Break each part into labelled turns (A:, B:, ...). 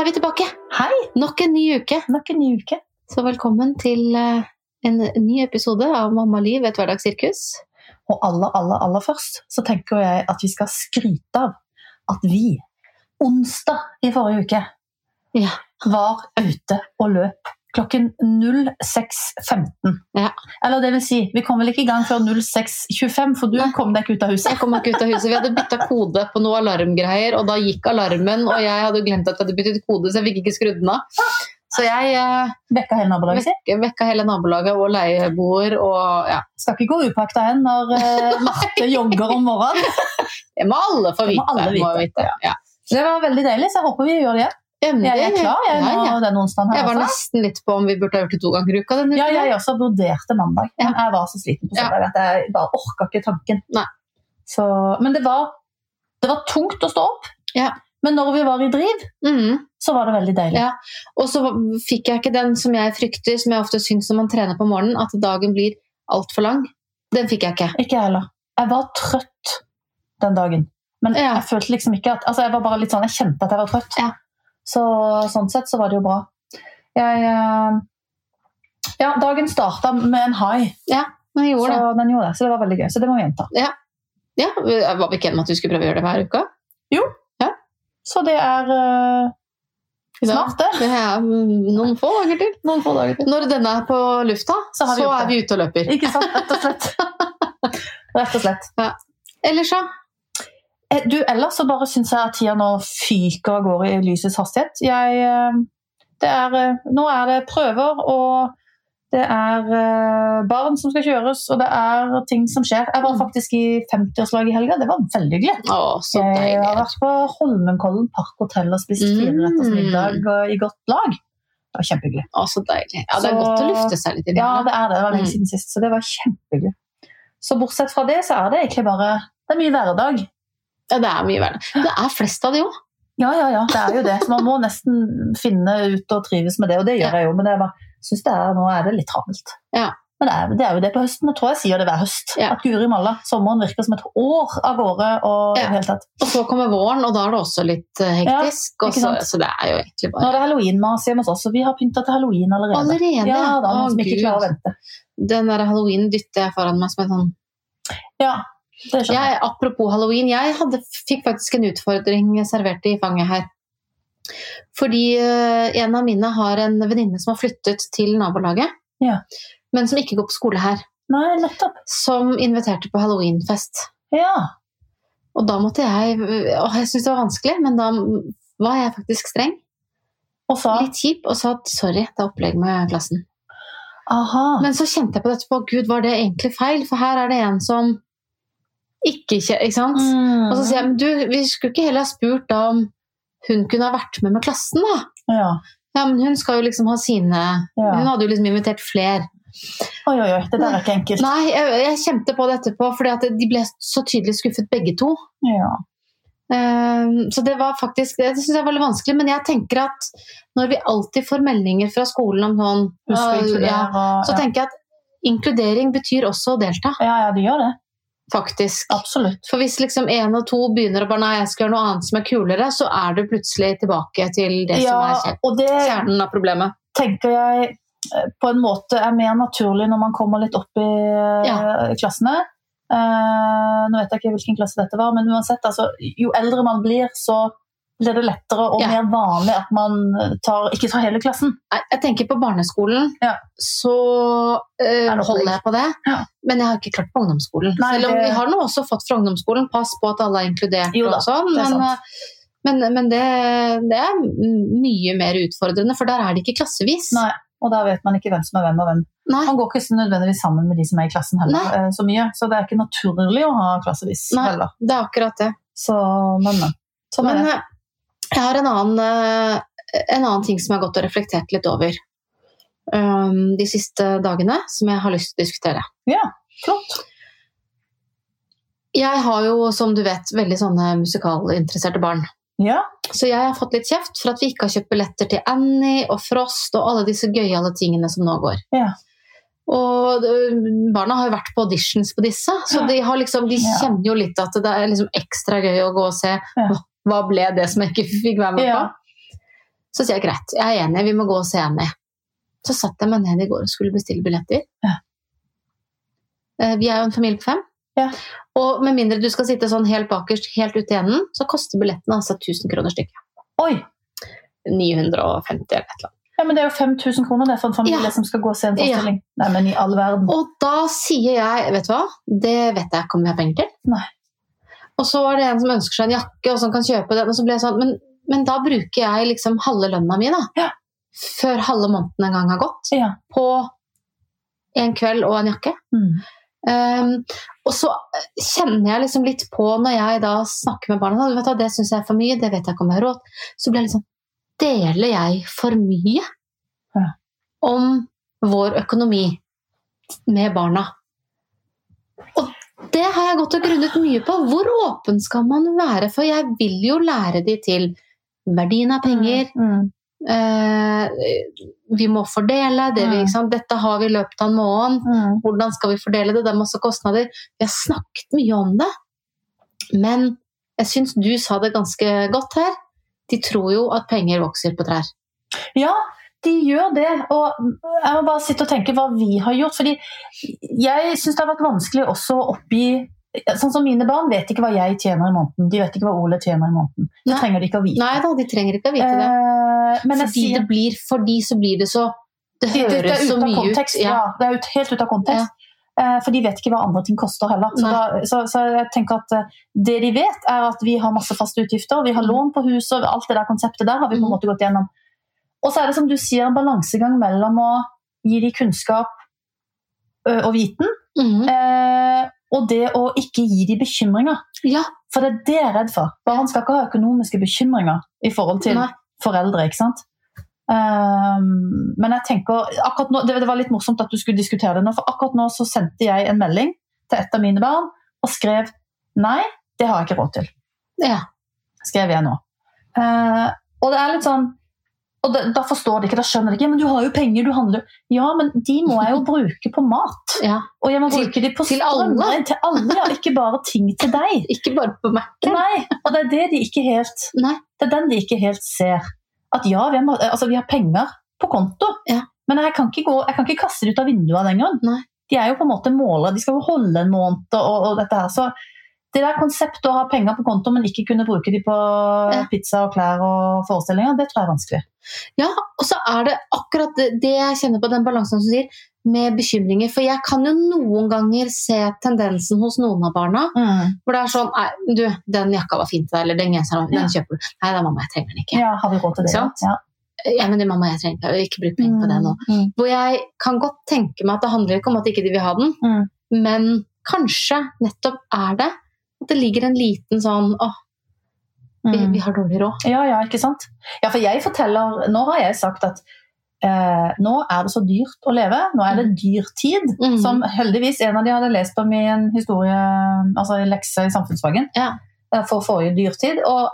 A: er vi tilbake!
B: Hei!
A: Nok en ny uke.
B: Nok en ny uke.
A: Så velkommen til eh, en ny episode av Mammaliv, et hverdagssirkus.
B: Og aller, aller, aller først så tenker jeg at vi skal skryte av at vi onsdag i forrige uke
A: Ja.
B: var ute og løp klokken 06.15.
A: Ja.
B: Eller det vil si, vi kom vel ikke i gang før 06.25, for du
A: Nei.
B: kom deg ikke ut av
A: Jeg
B: huset.
A: kom meg ikke ut av huset. Vi hadde bytta kode på noe alarmgreier, og da gikk alarmen, og jeg hadde glemt at jeg hadde byttet kode, så jeg fikk ikke skrudd den av. Så jeg eh,
B: Vekka hele nabolaget sitt.
A: vek vekka hele nabolaget og leieboer og ja.
B: Skal ikke gå upakta hen når eh, Marte jogger om morgenen.
A: Det må alle få
B: Det må
A: vite.
B: alle vite,
A: må vite. Ja.
B: Så Det var veldig deilig, så jeg håper vi gjør det igjen. Jeg er klar jeg,
A: Ja,
B: nå,
A: ja.
B: den onsdagen her.
A: Jeg var
B: også.
A: nesten litt på om vi burde ha gjort det to ganger i uka denne
B: Ja,
A: uken.
B: jeg også vurderte mandag, men jeg var så sliten på
A: Ja.
B: søndag at jeg bare orka ikke tanken.
A: Nei.
B: Så, men det var, det var tungt å stå opp.
A: Ja.
B: Men når vi var i driv,
A: Mhm.
B: så var det veldig deilig.
A: Ja. Og så fikk jeg ikke den som jeg frykter, som jeg ofte syns når man trener på morgenen, at dagen blir altfor lang. Den fikk jeg ikke.
B: Ikke jeg heller. Jeg var trøtt den dagen. Men
A: Ja.
B: jeg følte liksom ikke at altså Jeg var bare litt sånn, jeg kjente at jeg var trøtt.
A: Ja.
B: Så sånn sett så var det jo bra. Jeg eh, Ja, dagen starta med en high,
A: Men jeg
B: så
A: gjorde det.
B: den gjorde det. Så det var veldig gøy. Så det må vi gjenta.
A: Ja, Var vi ikke enige om at vi skulle prøve å gjøre det hver uke?
B: Så det er eh,
A: Ja.
B: smart, det.
A: Det er mm, noen få ganger til.
B: Noen få dager til.
A: Når denne er på lufta, så,
B: Så har vi gjort
A: er vi ute og løper.
B: Ikke sant? Rett og slett. Rett og slett.
A: Ellers så
B: Eh, Du, ellers så bare syns jeg at tida nå fyker av gårde i lysets hastighet. Jeg eh, Det er eh, Nå er det prøver, og det er eh, barn som skal kjøres, og det er ting som skjer. Jeg var
A: Mm.
B: faktisk i 50-årslag i helga. Det var veldig hyggelig.
A: Å, så
B: Jeg har
A: deilig.
B: vært på Holmenkollen parkhotell og spist
A: Mm.
B: fireretters middag og i godt lag. Det var kjempehyggelig.
A: Å, så deilig. Ja, det er
B: Så-
A: godt å lufte seg litt
B: Ja,
A: innimellom.
B: det er det. Det var lenge
A: Mm.
B: siden sist, så det var kjempehyggelig. Så bortsett fra det, så er det egentlig bare Det er mye hverdag.
A: Ja, det er mye verre. Det er flest av de òg.
B: Ja, ja, ja, det er jo det. Så man må nesten finne ut og trives med det, og det gjør jeg jo. Men jeg bare synes det er, nå er det litt travelt.
A: Ja.
B: Men det er, det er jo det på høsten. Jeg tror jeg sier det hver høst.
A: Ja.
B: At guri malla, sommeren virker som et år av gårde. og i
A: Ja.
B: det hele tatt.
A: Og så kommer våren, og da er det også litt eh,
B: Ja,
A: hektisk. og
B: ikke
A: så,
B: sant?
A: så det er jo egentlig
B: Nå er
A: bare
B: det halloweenmas hjemme hos oss, og vi har pynta til halloween allerede.
A: Allerede?
B: Ja, da,
A: Å,
B: noen som ikke
A: Gud.
B: klarer å vente.
A: Den der halloween dytter jeg foran meg som en sånn
B: Ja, det skjønner jeg.
A: Jeg, apropos halloween, jeg hadde, fikk faktisk en utfordring servert i fanget her. Fordi eh, en av mine har en venninne som har flyttet til nabolaget,
B: Ja.
A: men som ikke går på skole her,
B: Nei, nettopp.
A: som inviterte på halloweenfest.
B: Ja.
A: Og da måtte jeg Og jeg syntes det var vanskelig, men da var jeg faktisk streng,
B: Og sa
A: litt kjip, og sa at sorry, det er opplegg med klassen.
B: aha.
A: Men så kjente jeg på dette på gud, var det egentlig feil? For her er det en som ikke kje- Ikke sant?
B: Mm.
A: Og så sier jeg, men du, vi skulle ikke heller ha spurt da om hun kunne ha vært med med klassen da.
B: Ja.
A: Ja, men hun skal jo liksom ha sine,
B: Ja.
A: hun hadde jo liksom invitert flere.
B: Oi, oi, oi, det der er ikke enkelt.
A: Nei, jeg, jeg kjente på det etterpå, fordi at de ble så tydelig skuffet begge to.
B: Ja.
A: Ehm, så det var faktisk, det synes jeg var veldig vanskelig, men jeg tenker at når vi alltid får meldinger fra skolen om sånn,
B: Husk å
A: «Åh,
B: inkludere.
A: ja, så
B: ja.
A: tenker jeg at inkludering betyr også å delta,
B: ja, ja, de gjør det.
A: faktisk.
B: Absolutt.
A: For hvis liksom én og to begynner å bare nei, jeg skal gjøre noe annet som er kulere, så er du plutselig tilbake til det som er
B: Ja,
A: kje-
B: og det
A: kjernen av problemet.
B: tenker jeg eh, på en måte er mer naturlig når man kommer litt opp i eh, klassene. Eh, nå vet jeg ikke hvilken klasse dette var, men uansett, altså, jo eldre man blir, så blir det lettere og
A: Ja.
B: mer vanlig at man tar, ikke tar hele klassen.
A: Nei, Jeg tenker på barneskolen,
B: Ja.
A: så eh,
B: Er det opplegg?
A: holder jeg på det.
B: Ja.
A: Men jeg har ikke klart på ungdomsskolen.
B: Nei,
A: Selv om
B: det-
A: vi har nå også fått fra ungdomsskolen, pass på at alle er inkludert
B: Jo da,
A: og sånn.
B: det
A: Men,
B: er sant.
A: eh, men, men det, det er m- mye mer utfordrende, for der er det ikke klassevis.
B: Nei. Og da vet man ikke hvem som er hvem og hvem.
A: Nei.
B: Man går ikke så nødvendigvis sammen med de som er i klassen heller, eh, så mye. Så det er ikke naturlig å ha klassevis
A: Nei.
B: heller.
A: Det er akkurat det.
B: Så, men, men. Sånn er
A: Men
B: det.
A: eh, jeg har en annen, eh, en annen ting som jeg har gått og reflektert litt over um, de siste dagene, som jeg har lyst til å diskutere.
B: Flott.
A: Jeg har jo, som du vet, veldig sånne musikalinteresserte barn.
B: Ja.
A: Så jeg har fått litt kjeft for at vi ikke har kjøpt billetter til Annie og Frost og alle disse gøyale tingene som nå går.
B: Ja.
A: Og ø, barna har jo vært på auditions på disse, så de, har liksom, de
B: Ja.
A: kjenner jo litt at det er liksom ekstra gøy å gå og se hva ble det som jeg ikke fikk være med
B: Ja.
A: på. Så sier jeg greit, jeg er enig, vi må gå og se henne. Så satte jeg meg ned i går og skulle bestille billetter.
B: Ja.
A: Eh, Vi er jo en familie på fem.
B: Ja.
A: Og med mindre du skal sitte sånn helt bakerst, helt ute i enden, så koster billettene altså 1000 kroner stykket.
B: Oi!
A: 950 eller et eller annet.
B: Ja, men det er jo 5000 kroner det for en familie
A: Ja.
B: som skal gå og se en forestilling. Nei, men i all verden.
A: Og da sier jeg, vet du hva, det vet jeg ikke om jeg har penger til.
B: Nei.
A: Og så var det en som ønsker seg en jakke, og som kan kjøpe den. Og så ble jeg sånn, men, men da bruker jeg liksom halve lønna mi, da.
B: Ja.
A: Før halve måneden en gang har gått.
B: Ja.
A: På en kveld og en jakke.
B: Mm.
A: Ehm, og så eh, kjenner jeg liksom litt på når jeg da snakker med barna sånn, vet du, hva, Det syns jeg er for mye, det vet jeg ikke om jeg har råd Så blir jeg litt sånn Deler jeg for mye
B: Ja.
A: om vår økonomi med barna? Og det har jeg gått og grunnet mye på. Hvor åpen skal man være? For jeg vil jo lære de til verdien av penger,
B: Mm.
A: eh, vi må fordele det vi,
B: Mm.
A: ikke sant? Dette har vi i løpet av en måned.
B: Mm.
A: Hvordan skal vi fordele det? Det er masse kostnader. Vi har snakket mye om det. Men jeg syns du sa det ganske godt her. De tror jo at penger vokser på trær.
B: Ja, de gjør det. Og jeg må bare sitte og tenke hva vi har gjort. Fordi jeg syns det har vært vanskelig også å oppgi Sånn som mine barn vet ikke hva jeg tjener i måneden. De vet ikke hva Ole tjener i måneden. Det
A: Nei.
B: trenger de ikke å vite.
A: Nei da, de trenger ikke å vite det.
B: Eh, men jeg
A: Fordi
B: sier
A: det blir, for de så blir det så Det
B: det, det, det
A: høres
B: er
A: så
B: ute av
A: mye ut.
B: kontekst. Ja.
A: Ja.
B: det er ut, helt ute av kontekst. Eh, For de vet ikke hva andre ting koster heller. Så,
A: Nei.
B: da, så, så jeg tenker at eh, det de vet, er at vi har masse faste utgifter, vi har
A: Mm.
B: lån på huset, og alt det der konseptet der har vi på en
A: Mm.
B: måte gått gjennom. Og så er det som du sier, en balansegang mellom å gi de kunnskap ø, og viten,
A: Mhm.
B: eh, og det å ikke gi de bekymringer.
A: ja.
B: For det er det jeg er redd for. Barn skal ikke ha økonomiske bekymringer i forhold til
A: Nei.
B: foreldre, ikke sant? Ehm, men jeg tenker akkurat nå, det, det var litt morsomt at du skulle diskutere det nå, for akkurat nå så sendte jeg en melding til et av mine barn og skrev nei, det har jeg ikke råd til.
A: Ja.
B: Skrev jeg nå. Eh, og det er litt sånn og da, da forstår de ikke, da skjønner de ikke. Men du har jo penger, du handler jo Ja, men de må jeg jo bruke på mat.
A: ja.
B: Og jeg må
A: Til-
B: bruke de på
A: til alle.
B: strøm. Til alle, ja. Ikke bare ting til deg.
A: Ikke bare på Mac-en.
B: Nei, og det er det de ikke helt
A: Nei.
B: Det er den de ikke helt ser. At ja, vi har, altså, vi har penger på konto,
A: Ja.
B: men jeg kan, ikke gå, jeg kan ikke kaste det ut av vinduet av den gang.
A: Nei.
B: De er jo på en måte målere, de skal jo holde en måned og, og dette her. Så det der konseptet å ha penger på konto, men ikke kunne bruke de på
A: Ja.
B: pizza og klær og forestillinger, det tror jeg er vanskelig.
A: Og så er det akkurat det, det jeg kjenner på den balansen som du sier, med bekymringer. For jeg kan jo noen ganger se tendensen hos noen av barna hvor det er sånn Nei, du, den jakka var fin til deg, eller den genseren, den kjøper du. Nei da, mamma, jeg trenger den ikke.
B: Ja, har vi råd til det?
A: Sant?
B: Ja.
A: Ja, men det, mamma, jeg trenger ikke, ikke bruk penger på det nå.
B: Mm.
A: Hvor jeg kan godt tenke meg at det handler ikke om at ikke de vil ha den,
B: Mm.
A: men kanskje nettopp er det at det ligger en liten sånn åh, vi,
B: Mm.
A: vi har dårlig råd.
B: Ja, ja, ikke sant? Ja, for jeg forteller, nå har jeg sagt at eh, nå er det så dyrt å leve, nå
A: Mm.
B: er det dyrtid,
A: Mhm.
B: som heldigvis en av de hadde lest om i en historie, altså i lekse i samfunnsfagen,
A: Ja.
B: eh, for forrige dyrtid, og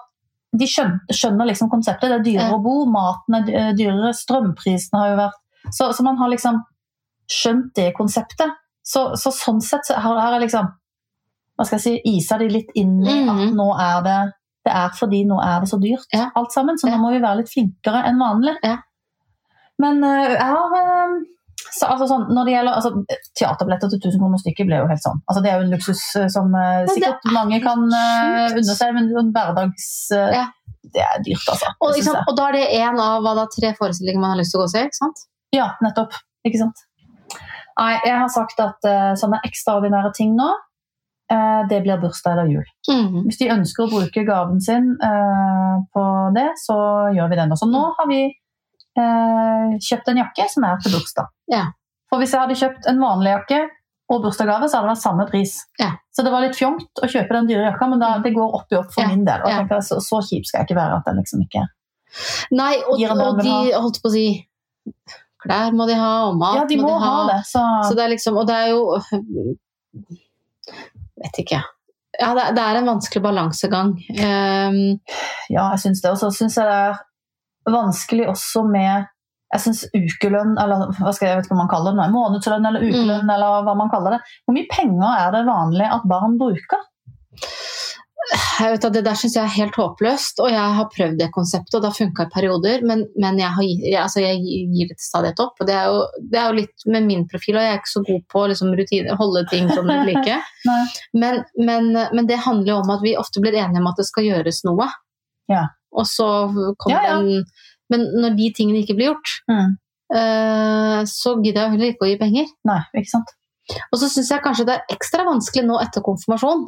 B: de skjøn- skjønner liksom konseptet, det er dyrere
A: Ja.
B: å bo, maten er dy- eh, dyrere, strømprisene har jo vært, så, så man har liksom skjønt det konseptet. Så, så sånn sett så har har jeg liksom, hva skal jeg si, isa de litt inn i at
A: Mhm.
B: nå er det det er fordi nå er det så dyrt
A: Ja.
B: alt sammen, så
A: Ja.
B: nå må vi være litt flinkere enn vanlig.
A: Ja.
B: Men eh, jeg har eh, så, altså, sånn, når det gjelder altså, Teaterbilletter til 1000 kroner stykket ble jo helt sånn. Altså, det er jo en luksus eh, som eh,
A: det
B: sikkert mange kan eh,
A: sjukt.
B: unne seg, men sånn hverdags eh,
A: Ja.
B: Det er dyrt, altså.
A: Og,
B: Det
A: ikke
B: synes
A: sant?
B: jeg.
A: og da er det én av hva da, tre forestillinger man har lyst til å gå og se. ikke sant?
B: Ja, nettopp. Ikke sant? Nei, jeg har sagt at eh, sånne ekstraordinære ting nå, eh, det blir bursdag eller jul.
A: Mhm.
B: Hvis de ønsker å bruke gaven sin eh, på det, så gjør vi det nå. Så nå har vi eh, kjøpt en jakke som er til bursdag.
A: Ja.
B: For hvis jeg hadde kjøpt en vanlig jakke og bursdagsgave, så hadde det vært samme pris.
A: Ja.
B: Så det var litt fjongt å kjøpe den dyre jakka, men da, det går opp i opp for
A: Ja,
B: min del. Og jeg
A: ja.
B: tenker, så, så kjip skal jeg ikke være at jeg liksom ikke
A: Nei, og,
B: Gir
A: og
B: en barn
A: de
B: vil
A: holdt på å si Klær må de ha, og mat
B: Ja, de må ha det. Så,
A: Så det er liksom, og det er jo Vet ikke. Ja, det, det er en vanskelig balansegang. Ehm,
B: ja, jeg syns det. Og så syns jeg det er vanskelig også med jeg synes ukelønn, eller hva skal jeg, jeg vet ikke hva man kaller det, nå, månedslønn eller ukelønn, eller hva man kaller det. Hvor mye penger er det vanlig at barn bruker?
A: jeg vet at Det der syns jeg er helt håpløst, og jeg har prøvd det konseptet, og det har funka i perioder, men, men jeg, har, jeg, altså jeg gir det til stadighet opp. og det er, jo, det er, jo, litt med min profil, og jeg er ikke så god på å liksom, holde ting sånn ved like. men, men, men, det handler jo om at vi ofte blir enige om at det skal gjøres noe.
B: Ja.
A: Og så kommer ja, ja. den Men når de tingene ikke blir gjort,
B: mm.
A: eh, så gidder jeg heller ikke å gi penger.
B: Nei, ikke sant?
A: Og så syns jeg kanskje det er ekstra vanskelig nå etter konfirmasjon.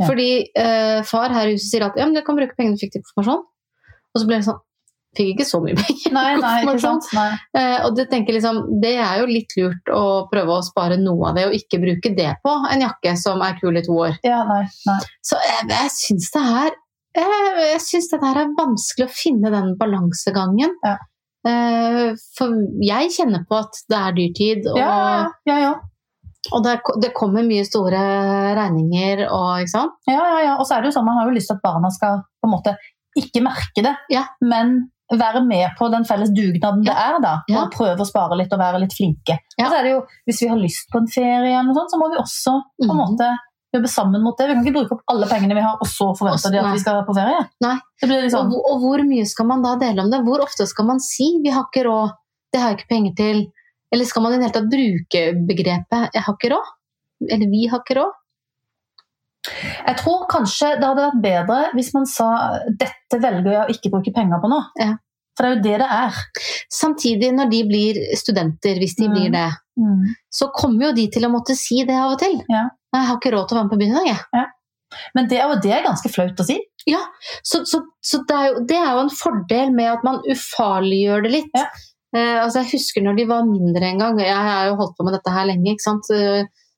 A: Ja. Fordi eh, far her i huset sier at ja, men du kan bruke pengene du fikk til konfirmasjon. Og så ble det sånn Fikk ikke så mye penger.
B: Nei, nei, ikke sant? Nei.
A: Eh, og det tenker liksom, det er jo litt lurt å prøve å spare noe av det, og ikke bruke det på en jakke som er kul i to år.
B: Ja, nei, nei.
A: Så eh, jeg syns det her jeg, jeg syns det her er vanskelig å finne den balansegangen. Eh,
B: Ja.
A: for jeg kjenner på at det er dyrtid, og
B: ja, ja, ja.
A: Og det, det, kommer mye store regninger og ikke sant?
B: Ja, ja, ja. Og så er det jo sånn, man har jo lyst til at barna skal på en måte ikke merke det,
A: ja.
B: men være med på den felles dugnaden ja. det er, da. Og ja. prøve å spare litt og være litt flinke. Og så er det jo, hvis vi har lyst på en ferie, eller noe sånt, så må vi også på
A: Mhm.
B: en måte jobbe sammen mot det. Vi kan ikke bruke opp alle pengene vi har, og så forventer de at vi skal på ferie.
A: Nei.
B: Liksom...
A: Og, og hvor mye skal man da dele om det? Hvor ofte skal man si 'vi har ikke råd', 'det har jeg ikke penger til'? Eller skal man i det hele tatt bruke begrepet 'jeg har ikke råd'? Eller 'vi har ikke råd'?
B: Jeg tror kanskje det hadde vært bedre hvis man sa 'dette velger jeg å ikke bruke penger på nå'.
A: Ja.
B: For det er jo det det er.
A: Samtidig, når de blir studenter, hvis de mm. blir det,
B: mm.
A: så kommer jo de til å måtte si det av og til.
B: Ja.
A: 'Jeg har ikke råd til å være med på byen i dag', jeg.
B: Ja. Men det er jo det er ganske flaut å si.
A: Ja, så, så, så det, er jo, det, er jo, en fordel med at man ufarliggjør det litt.
B: Ja.
A: Eh, altså jeg husker når de var mindre en gang, jeg har jo holdt på med dette her lenge. ikke sant?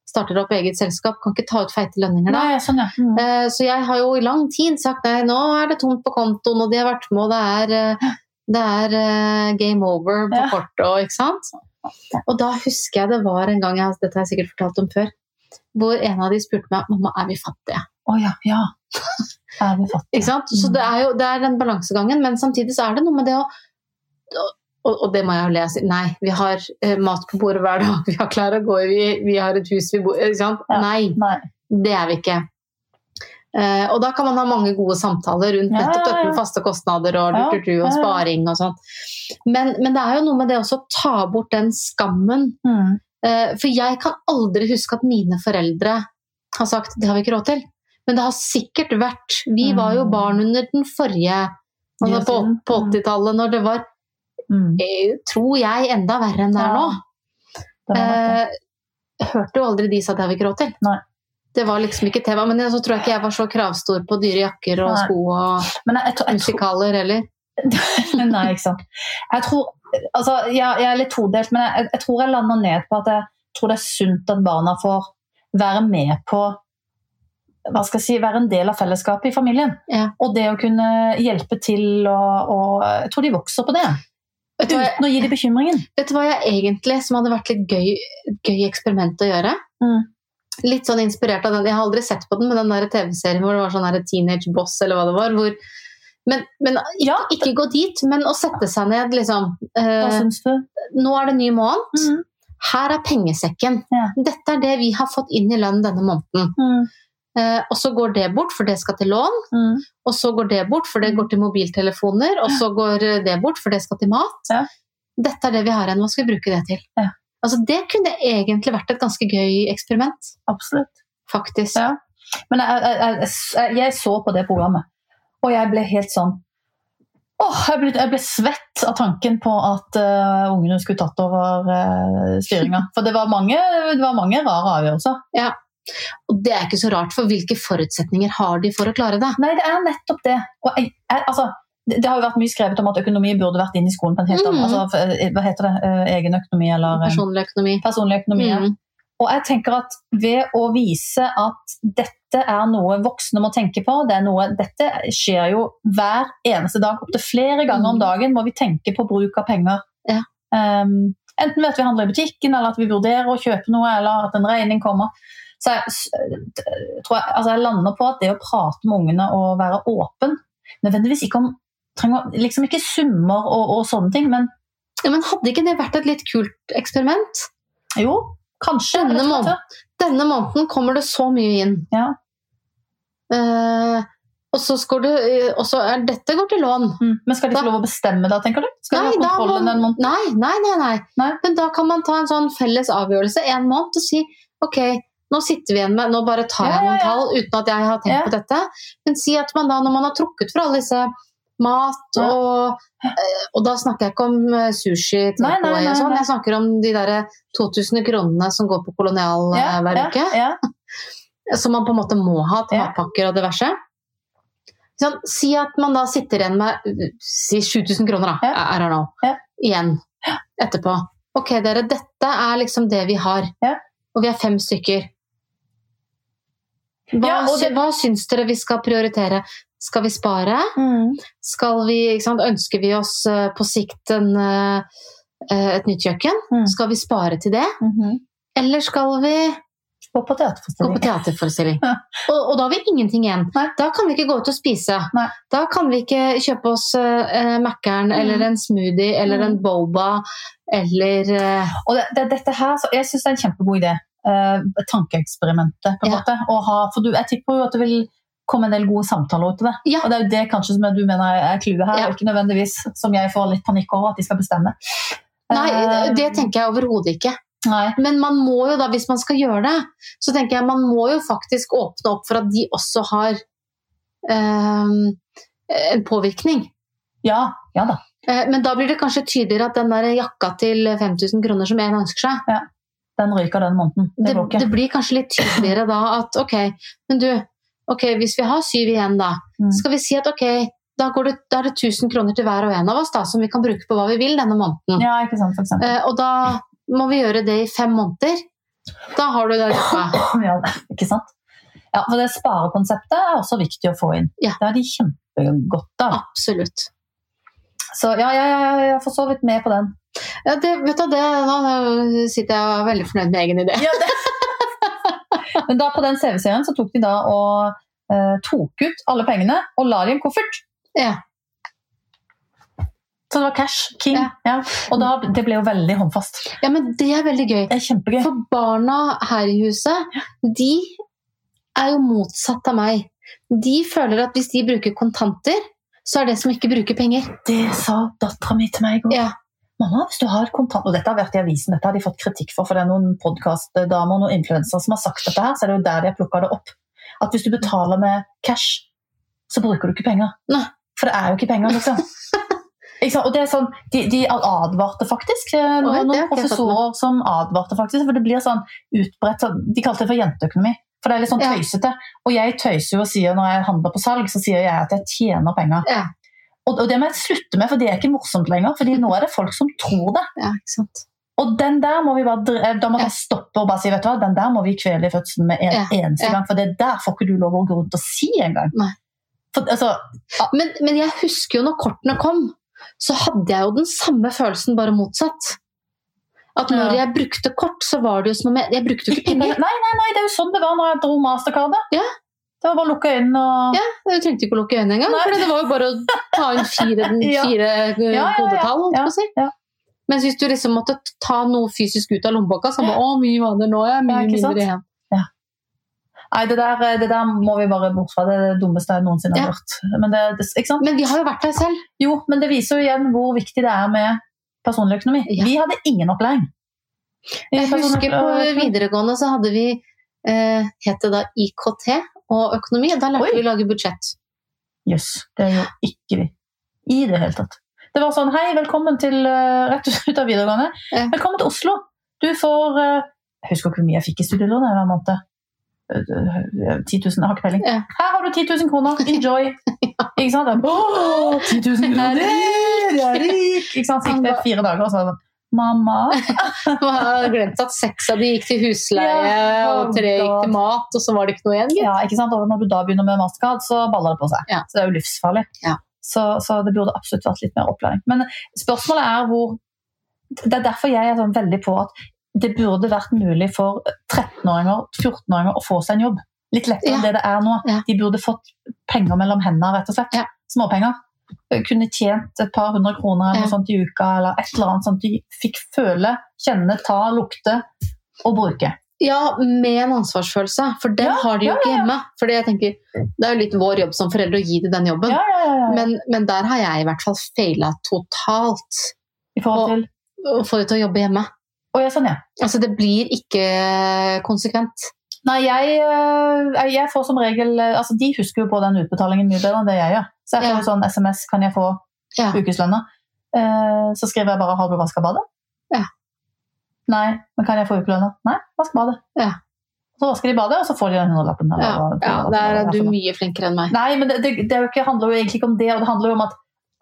A: Starter opp eget selskap, kan ikke ta ut feite lønninger da.
B: Nei, sånn, ja. Mm.
A: Eh, så jeg har jo i lang tid sagt nei, nå er det tomt på kontoen, og de har vært med, og det er, eh, det er uh, game over på ja. kortet ikke sant. Og da husker jeg det var en gang, jeg, dette har jeg sikkert fortalt om før, hvor en av de spurte meg mamma, er vi fattige?
B: Å oh, ja, ja. Er vi fattige?
A: ikke sant? Så det er jo det er den balansegangen, men samtidig så er det noe med det å og, det må jeg jo le og si. Nei, vi har eh, mat på bordet hver dag, vi har klær å gå i, vi, vi, har et hus vi bor i. Ja,
B: nei,
A: nei, det er vi ikke. Eh, og da kan man ha mange gode samtaler rundt ja, nettopp dette med faste kostnader og, ja, du, du, og sparing og sånn. Men, men, det er jo noe med det også å ta bort den skammen.
B: Mm.
A: Eh, for jeg kan aldri huske at mine foreldre har sagt 'det har vi ikke råd til'. Men det har sikkert vært Vi
B: Mm.
A: var jo barn under den forrige, altså på, på 80-tallet, når det var
B: Mm.
A: Jeg tror jeg, enda verre enn det er nå.
B: Det det.
A: Eh, hørte jo aldri de sa det har vi ikke råd til.
B: Nei.
A: Det var liksom ikke tema. Men så tror jeg ikke jeg var så kravstor på dyre jakker og Nei. sko og
B: jeg, jeg tror, jeg
A: musikaler tror... heller.
B: Nei, ikke sant. Jeg tror Altså, jeg, er litt todelt, men jeg, tror jeg lander ned på at jeg tror det er sunt at barna får være med på hva skal jeg si, være en del av fellesskapet i familien.
A: Ja.
B: Og det å kunne hjelpe til og, og Jeg tror de vokser på det.
A: Vet du, hva,
B: Uten å gi dem bekymringen.
A: Vet du hva jeg egentlig som hadde vært litt gøy, gøy eksperiment å gjøre?
B: Mm.
A: Litt sånn inspirert av den, Jeg har aldri sett på den, men den der TV-serien hvor det var sånn her Teenage Boss eller hva det var. Hvor, men, men
B: ja,
A: ikke, ikke, gå dit, men å sette seg ned, liksom.
B: hva eh, syns du?
A: Nå er det ny måned.
B: Mm.
A: Her er pengesekken.
B: Ja.
A: Dette er det vi har fått inn i lønn denne måneden.
B: Mm.
A: Eh, og så går det bort, for det skal til lån.
B: Mm.
A: Og så går det bort, for det går til mobiltelefoner. Og så går eh, det bort, for det skal til mat.
B: Ja.
A: Dette er det vi har igjen. Hva skal vi bruke det til?
B: Ja.
A: Altså, det kunne egentlig vært et ganske gøy eksperiment.
B: Absolutt.
A: Faktisk.
B: Ja. Men jeg, jeg, jeg, jeg, så på det programmet, og jeg ble helt sånn Åh, jeg ble, ble svett av tanken på at uh, ungene skulle tatt over uh, styringa. For det var, mange, det var mange rare avgjørelser.
A: Ja. Og det er ikke så rart, for hvilke forutsetninger har de for å klare det?
B: Nei, det er nettopp det. Jeg, jeg, altså, det, det har jo vært mye skrevet om at økonomi burde vært inne i skolen på en helt annen mm. altså, Hva heter det? Egen økonomi eller eh,
A: Personlig økonomi.
B: Personlig økonomi ja.
A: Mm.
B: Og jeg tenker at ved å vise at dette er noe voksne må tenke på, det noe, dette skjer jo hver eneste dag, opptil flere ganger om dagen må vi tenke på bruk av penger.
A: Ja.
B: Um, enten ved at vi handler i butikken, eller at vi vurderer å kjøpe noe, eller at en regning kommer. Så jeg, tror jeg, altså jeg lander på at det å prate med ungene og være åpen Nødvendigvis ikke om trenger, liksom ikke summer og, og sånne ting, men
A: ja, Men hadde ikke det vært et litt kult eksperiment?
B: Jo, kanskje.
A: Denne, måneden, denne måneden kommer det så mye inn.
B: Ja.
A: Eh, og så skal du eh, Og så er dette går til lån.
B: Mm. Men skal de
A: Da-
B: få lov å bestemme da, tenker du? Skal
A: Nei,
B: de
A: da
B: ha
A: må-
B: kontrollen en måned?
A: Nei, nei, nei, nei.
B: Nei.
A: Men da kan man ta en sånn felles avgjørelse en måned og si ok, nå sitter vi igjen med Nå bare tar jeg
B: Ja, ja,
A: noen
B: ja.
A: tall uten at jeg har tenkt
B: Ja.
A: på dette. Men si at man da, når man har trukket fra alle disse mat
B: Ja.
A: og eh, Og da snakker jeg ikke om eh, sushi,
B: Nei, nei,
A: taco og
B: nei,
A: sånn.
B: nei.
A: Jeg snakker om de der 2000 kronene som går på kolonial eh,
B: Ja,
A: hver
B: ja,
A: uke.
B: ja.
A: Som man på en måte må ha til
B: Ja.
A: matpakker og diverse. Sånn, si at man da sitter igjen med uh, si 7000 kroner, da.
B: Ja.
A: I don't know.
B: Ja.
A: Igjen. Etterpå. Ok, dere, dette er liksom det vi har.
B: Ja.
A: Og vi er fem stykker. Hva,
B: Ja, og
A: sy-
B: det-
A: hva syns dere vi skal prioritere? Skal vi spare?
B: Mm.
A: Skal vi, ikke sant, ønsker vi oss eh, på sikt en, eh, eh, et nytt kjøkken?
B: Mm.
A: Skal vi spare til det?
B: Mhm.
A: Eller skal vi
B: Og på
A: Gå på
B: teaterforestilling.
A: teaterforestilling.
B: Ja.
A: Og, og da har vi ingenting igjen.
B: Nei.
A: Da kan vi ikke gå ut og spise.
B: Nei.
A: Da kan vi ikke kjøpe oss uh, Mækkern eller en smoothie eller
B: Mm.
A: en boba eller eh,
B: Og det, det, dette her, så jeg syns det er en kjempegod idé. Eh, tankeeksperimentet, på en
A: Ja.
B: måte. Å ha, for du, jeg tipper jo at det vil komme en del gode samtaler ut av det.
A: Ja.
B: Og det er jo det kanskje som jeg- du mener er- er clouet her,
A: Ja.
B: og ikke nødvendigvis som jeg får litt panikk over at de skal bestemme.
A: Nei,
B: Eh,
A: det tenker jeg overhodet ikke.
B: Nei.
A: Men man må jo da, hvis man skal gjøre det, så tenker jeg man må jo faktisk åpne opp for at de også har eh, en påvirkning.
B: Ja, ja da.
A: Eh, men da blir det kanskje tydeligere at den der jakka til 5000 kroner som en ønsker seg,
B: Den ryker den måneden. Det,
A: det,
B: går ikke.
A: det blir kanskje litt tydeligere da at ok, men du, ok, hvis vi har syv igjen da,
B: Mm.
A: skal vi si at ok, da, går det, da er det 1000 kroner til hver og en av oss da, som vi kan bruke på hva vi vil denne måneden.
B: Ja, ikke sant, for eksempel.
A: Eh, og da må vi gjøre det i fem måneder. Da har du det. Jakka.
B: Ja, ikke sant? Ja, for det sparekonseptet er også viktig å få inn.
A: Ja.
B: Det har de kjempegodt av.
A: Absolutt.
B: Så ja, jeg, jeg, jeg er for så vidt med på den.
A: Ja, det, vet du, det, nå sitter jeg og er veldig fornøyd med egen idé.
B: Ja, det. Men da på den CV-serien så tok de da og eh, tok ut alle pengene og la det i en koffert.
A: Ja.
B: Så det var cash. King.
A: Ja.
B: Ja. Og da, det ble jo veldig håndfast.
A: Ja, men det er veldig gøy.
B: Det er kjempegøy.
A: For barna her i huset, de er jo motsatt av meg. De føler at hvis de bruker kontanter, så er det som ikke bruker penger.
B: Det sa dattera mi til meg i går.
A: Ja.
B: Mamma, hvis du har kontant... Og dette har vært i avisen, dette har de fått kritikk for, for det er noen podkastdamer og noen influensere som har sagt dette her, så er det jo der de har plukka det opp. At hvis du betaler med cash, så bruker du ikke penger.
A: Nei.
B: For det er jo ikke penger, liksom. ikke sant? Og det er sånn, de, de advarte faktisk, eh,
A: Oi,
B: noen,
A: det har
B: noen
A: ikke jeg fått
B: professorer som advarte faktisk, for det blir sånn utbredt, sånn, de kalte det for jenteøkonomi. For det er litt sånn
A: Ja.
B: tøysete. Og jeg tøyser jo og sier når jeg handler på salg, så sier jeg at jeg tjener penger.
A: Ja.
B: Og, og det må jeg slutte med, for det er ikke morsomt lenger. fordi nå er det folk som tror det.
A: Ja, ikke sant?
B: Og den der må vi bare, dre- da må
A: Ja.
B: jeg stoppe og bare si vet du hva, den der må vi kvele i fødselen med en
A: Ja,
B: eneste
A: ja.
B: gang. For det der får ikke du lov å gå rundt og si engang.
A: Nei.
B: For, altså,
A: Men, men jeg husker jo når kortene kom, så hadde jeg jo den samme følelsen, bare motsatt. At når
B: Ja.
A: jeg brukte kort, så var det jo som om jeg, jeg brukte jo ikke
B: nei,
A: penger.
B: nei, nei, det er jo sånn det var når jeg dro mastercardet.
A: Ja.
B: Det var bare å lukke øynene og
A: Ja. Jeg trengte ikke å lukke øynene engang,
B: Nei.
A: for det var jo bare å ta inn fire,
B: Ja.
A: fire eh,
B: ja, ja.
A: kodetall. holdt jeg på
B: Ja,
A: å si.
B: ja.
A: Mens hvis du liksom måtte ta noe fysisk ut av lommeboka, så var det 'Å, mye vaner nå, ja. Mye
B: Ja, ikke sant?
A: mindre igjen'.
B: Nei, det der, eh, det der må vi bare bort fra. Det er det dummeste jeg noensinne
A: Ja.
B: har hørt. Men det, det, ikke sant?
A: Men vi har jo vært der selv.
B: Jo, men det viser jo igjen hvor viktig det er med personlig økonomi.
A: Ja.
B: Vi hadde ingen opplæring. I
A: Jeg
B: personlig
A: husker på
B: økonomi-
A: videregående så hadde vi eh, het det da IKT og økonomi. og Da lærte
B: Oi.
A: vi å lage budsjett.
B: Jøss, det gjør ikke vi. I det hele tatt. Det var sånn Hei, velkommen til eh, rett ut av videregående.
A: Ja.
B: Velkommen til Oslo. Du får eh, Jeg husker ikke hvor mye jeg fikk i studielån jeg, hver måned. Eh, eh, 10 000, jeg har ikke peiling.
A: Ja.
B: Her har du 10 000 kroner, enjoy! Ikke sant? Jeg, Åh, 10 000 kroner! Jeg er rik! Ikke sant? Så gikk det fire dager, og så var det sånn Mamma!
A: Man har glemt at seks av de gikk til husleie,
B: Ja,
A: og tre gikk til
B: da-
A: mat, og så var det ikke noe igjen. gitt.
B: Ja, ikke sant? Og når du da begynner med mastercard, så baller det på seg.
A: Ja.
B: Så det er jo livsfarlig.
A: Ja.
B: Så, så det burde absolutt vært litt mer opplæring. Men spørsmålet er hvor Det er derfor jeg er sånn veldig på at det burde vært mulig for 13-åringer 14-åringer å få seg en jobb. Litt lettere enn
A: Ja.
B: det det er nå.
A: Ja.
B: De burde fått penger mellom hendene, rett og slett.
A: Ja.
B: Småpenger. Kunne tjent et par hundre kroner eller
A: Ja.
B: noe sånt i uka, eller et eller annet sånt de fikk føle, kjenne, ta, lukte og bruke.
A: Ja, med en ansvarsfølelse, for den
B: Ja,
A: har de jo
B: ja,
A: ikke hjemme. Fordi jeg tenker, Det er jo litt vår jobb som foreldre å gi dem den jobben.
B: Ja, ja, ja, ja.
A: Men, men der har jeg i hvert fall feila totalt
B: I forhold til
A: å få dem til å jobbe hjemme.
B: Å ja, sånn, ja.
A: Altså, Det blir ikke konsekvent.
B: Nei, jeg, eh, jeg får som regel eh, Altså, de husker jo på den utbetalingen mye bedre enn det jeg gjør. Så jeg får
A: Ja.
B: jo sånn SMS kan jeg få
A: Ja.
B: ukeslønna. Eh, Så skriver jeg bare 'har du vaska badet'?
A: Ja.
B: Nei, men kan jeg få ukelønna? Nei, vask badet.
A: Ja.
B: Så vasker de badet, og så får de den hundrelappen. eller
A: Ja,
B: hva-
A: ja Der er
B: hva-
A: du
B: hva-
A: mye flinkere enn meg.
B: Nei, men det, det, det er jo ikke, handler jo egentlig ikke om det. og Det handler jo om at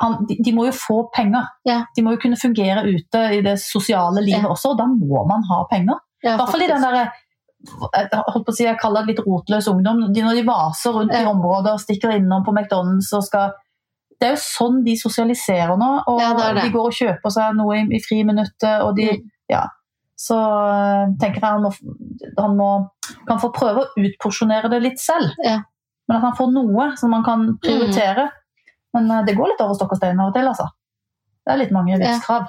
B: han, de, de må jo få penger.
A: Ja.
B: De må jo kunne fungere ute i det sosiale livet
A: Ja.
B: også, og da må man ha penger.
A: Ja,
B: I hvert fall i
A: faktisk.
B: den derre jeg holdt på å si, jeg kaller det litt rotløs ungdom. De, når de vaser rundt i
A: Ja.
B: områder, stikker innom på McDonald's og skal Det er jo sånn de sosialiserer nå. Og
A: Ja, det er det. Mm.
B: de går og kjøper seg noe i, i friminuttet, og de Ja. Så øh, tenker jeg han må, f- han må kan få prøve å utporsjonere det litt selv.
A: Ja.
B: Men at han får noe som man kan prioritere. Men øh, det går litt over stokk og stein av og til, altså. Det er litt mange livskrav.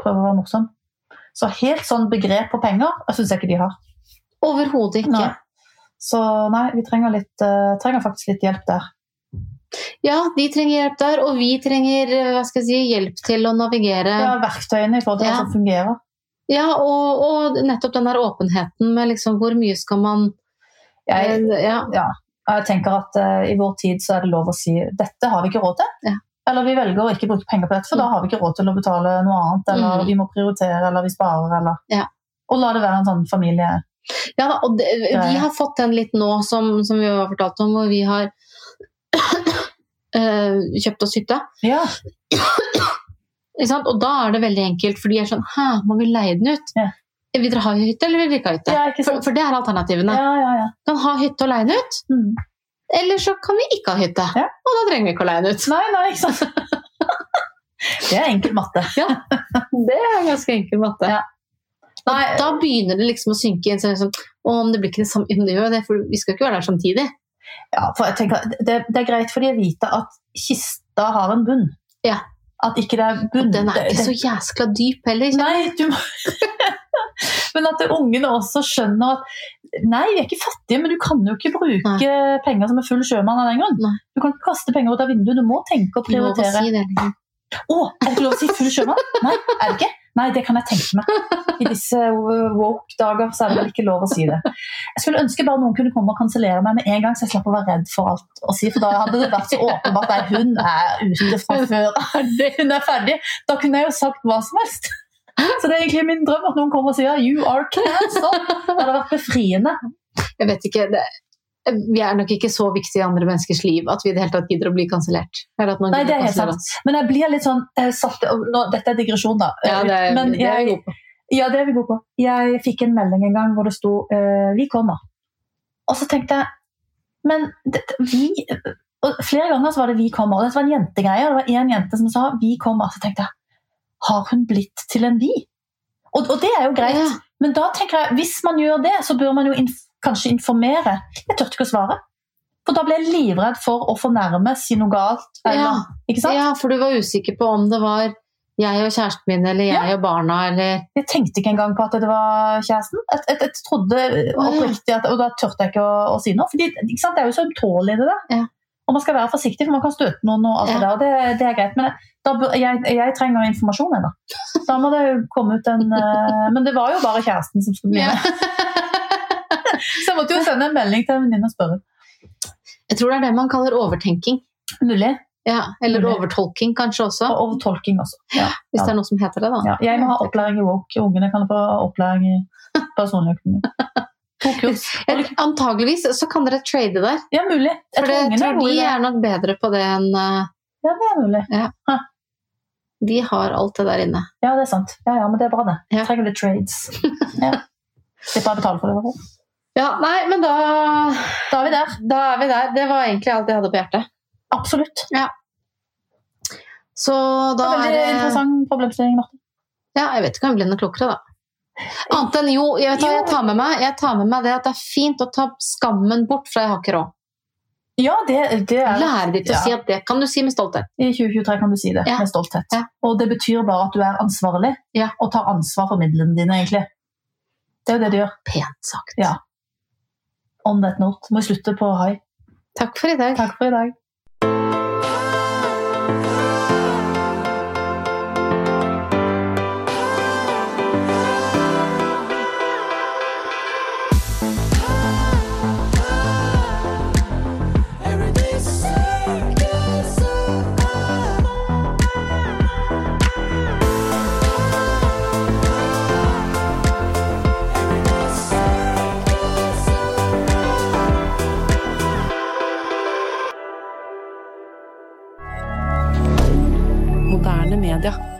B: Prøve å være morsom. Så helt sånn begrep på penger jeg syns jeg ikke de har.
A: Overhodet ikke.
B: Nei. Så nei, vi trenger, litt, eh, trenger faktisk litt hjelp der.
A: Ja, de trenger hjelp der, og vi trenger eh, hva skal jeg si, hjelp til å navigere. Ja,
B: Ja, verktøyene i forhold til
A: Ja.
B: hva som fungerer.
A: og, og nettopp den der åpenheten med liksom hvor mye skal man
B: Jeg,
A: eh, ja.
B: jeg tenker at eh, i vår tid så er det lov å si dette har vi ikke råd til.
A: Ja.
B: Eller vi velger å ikke bruke penger på dette, for da har vi ikke råd til å betale noe annet. Eller
A: Mm.
B: vi må prioritere, eller vi sparer, eller
A: Ja.
B: Og la det være en sånn familie
A: Ja, da, og det, vi
B: ja.
A: har fått den litt nå, som, som vi har fortalt om, hvor vi har eh, kjøpt oss hytte.
B: Ja,
A: Ikke sant? Og da er det veldig enkelt, for de er sånn Hæ, må vi leie den ut?
B: Ja.
A: Vil dere ha hytte, eller vil dere ikke ha hytte?
B: ja ikke
A: For,
B: sant?
A: for det er alternativene.
B: Ja, ja, ja.
A: Vi kan ha hytte og leie den ut,
B: Mm.
A: eller så kan vi ikke ha hytte.
B: Ja.
A: Og da trenger vi ikke å leie den ut.
B: Nei, nei, ikke sant. Det er enkel matte.
A: Det er ganske enkel matte.
B: Ja. Nei,
A: Da begynner det liksom å synke inn. Så er det sånn, «Å, men det blir ikke det samme Men det gjør jo det, for vi skal jo ikke være der samtidig.
B: ja, for jeg tenker, at det, det er greit for de å vite at kista har en bunn.
A: Ja.
B: At ikke det er bunn.
A: Den er
B: Mm. det-
A: ikke
B: det-
A: så jæskla dyp heller. ikke sant?
B: Nei, du må... Men at ungene også skjønner at nei, vi er ikke fattige, men du kan jo ikke bruke penger som en full sjømann av den grunn.
A: Nei.
B: Du kan ikke kaste penger ut av vinduet, du må tenke og
A: Du må bare
B: prioritere.
A: si det, liksom.
B: Å, er det ikke lov å si full sjømann? Nei, er det ikke? Nei, det kan jeg tenke meg. I disse woke-dager så er det vel ikke lov å si det. Jeg skulle ønske bare noen kunne komme og kansellere meg med en gang, så jeg slapp å være redd for alt å si, for da hadde det vært så åpenbart at hun er ute fra før. Er det- Hun er ferdig. Da kunne jeg jo sagt hva som helst. Så det er egentlig min drøm at noen kommer og sier 'you are cancelled'. Det hadde vært befriende.
A: jeg vet ikke det, Vi er nok ikke så viktige i andre menneskers liv at vi i det hele tatt gidder å bli kansellert. Eller at man
B: Nei,
A: gidder
B: det er
A: å
B: helt
A: kansellere
B: sant. Men jeg blir litt sånn eh, satt og nå, Dette er digresjon, da.
A: oss. Ja, det, er-
B: Men
A: det er vi
B: jeg-
A: gode på.
B: Ja, det er vi gode på. Jeg fikk en melding en gang hvor det sto eh, 'Vi kommer'. Og så tenkte jeg Men det, det- vi og Flere ganger så var det 'Vi kommer'. Og dette var en jentegreie. og Det var én jente som sa 'Vi kommer'. Så tenkte jeg Har hun blitt til en vi? Og, og det er jo greit.
A: Ja,
B: Men da tenker jeg, hvis man gjør det, så bør man jo inf kanskje informere. Jeg tørte ikke å svare. For da ble jeg livredd for å fornærme, si noe galt. Eller,
A: Ja.
B: Ikke sant?
A: ja, for du var usikker på om det var jeg og kjæresten min, eller jeg og barna, eller
B: Jeg tenkte ikke engang på at det var kjæresten. Jeg, jeg, jeg trodde oppriktig at, Og da turte jeg ikke å, å si noe. For ikke sant? det er jo så ømtålig, det der.
A: Ja.
B: Og man skal være forsiktig, for man kan støte noen. og alt
A: Ja.
B: det der, og det, det er greit. Men jeg, da, bør- jeg, jeg trenger informasjon, jeg, da. Da må det jo komme ut en eh, Men det var jo bare kjæresten som skulle bli
A: Ja.
B: med. Så jeg måtte jo sende en melding til en venninne og spørre.
A: Jeg tror det er det man kaller overtenking.
B: Mulig.
A: Ja, eller
B: Mulig.
A: overtolking kanskje også,
B: Og overtolking også. Ja.
A: hvis det er noe som heter det. da.
B: Ja. Jeg må ha opplæring i woke. Ungene kan få opplæring i personlig økonomi. To kurs.
A: Eller, antageligvis så kan dere trade der,
B: Ja, mulig.
A: for
B: Jeg tror
A: det
B: ungene er
A: tror
B: gode i
A: de
B: det.
A: er nok bedre på det enn eh,
B: Ja, det er mulig.
A: De har alt det der inne.
B: Ja, det er sant. Ja, ja, men det er bra, det.
A: Ja.
B: Trenger litt trades. Ja. Slipper jeg å betale for det. i hvert fall.
A: Ja, nei, men da,
B: Da er vi der.
A: da er vi der. Det var egentlig alt jeg hadde på hjertet.
B: Absolutt.
A: Så
B: Det
A: da
B: er
A: er
B: veldig
A: det
B: interessant problemstilling, Marte.
A: Ja, jeg vet ikke om jeg blir noe klokere, da. Annet enn jo, jeg, vet, hva,
B: Jo.
A: jeg, tar med meg, jeg tar med meg det at det er fint å ta skammen bort fra jeg har ikke råd.
B: Ja, det, det er
A: Lære de til å
B: Ja.
A: si at det kan du si med stolthet.
B: I 2023 kan du si det
A: Ja.
B: med stolthet.
A: Ja.
B: Og det betyr bare at du er ansvarlig
A: Ja.
B: og tar ansvar for midlene dine, egentlig. Det er jo det de gjør.
A: Pent sagt.
B: Ja. On that note må vi slutte på high.
A: Takk for i dag.
B: Takk for i dag.
C: Everything's same, it's so hard. Everything's same, it's so
D: Moderne media.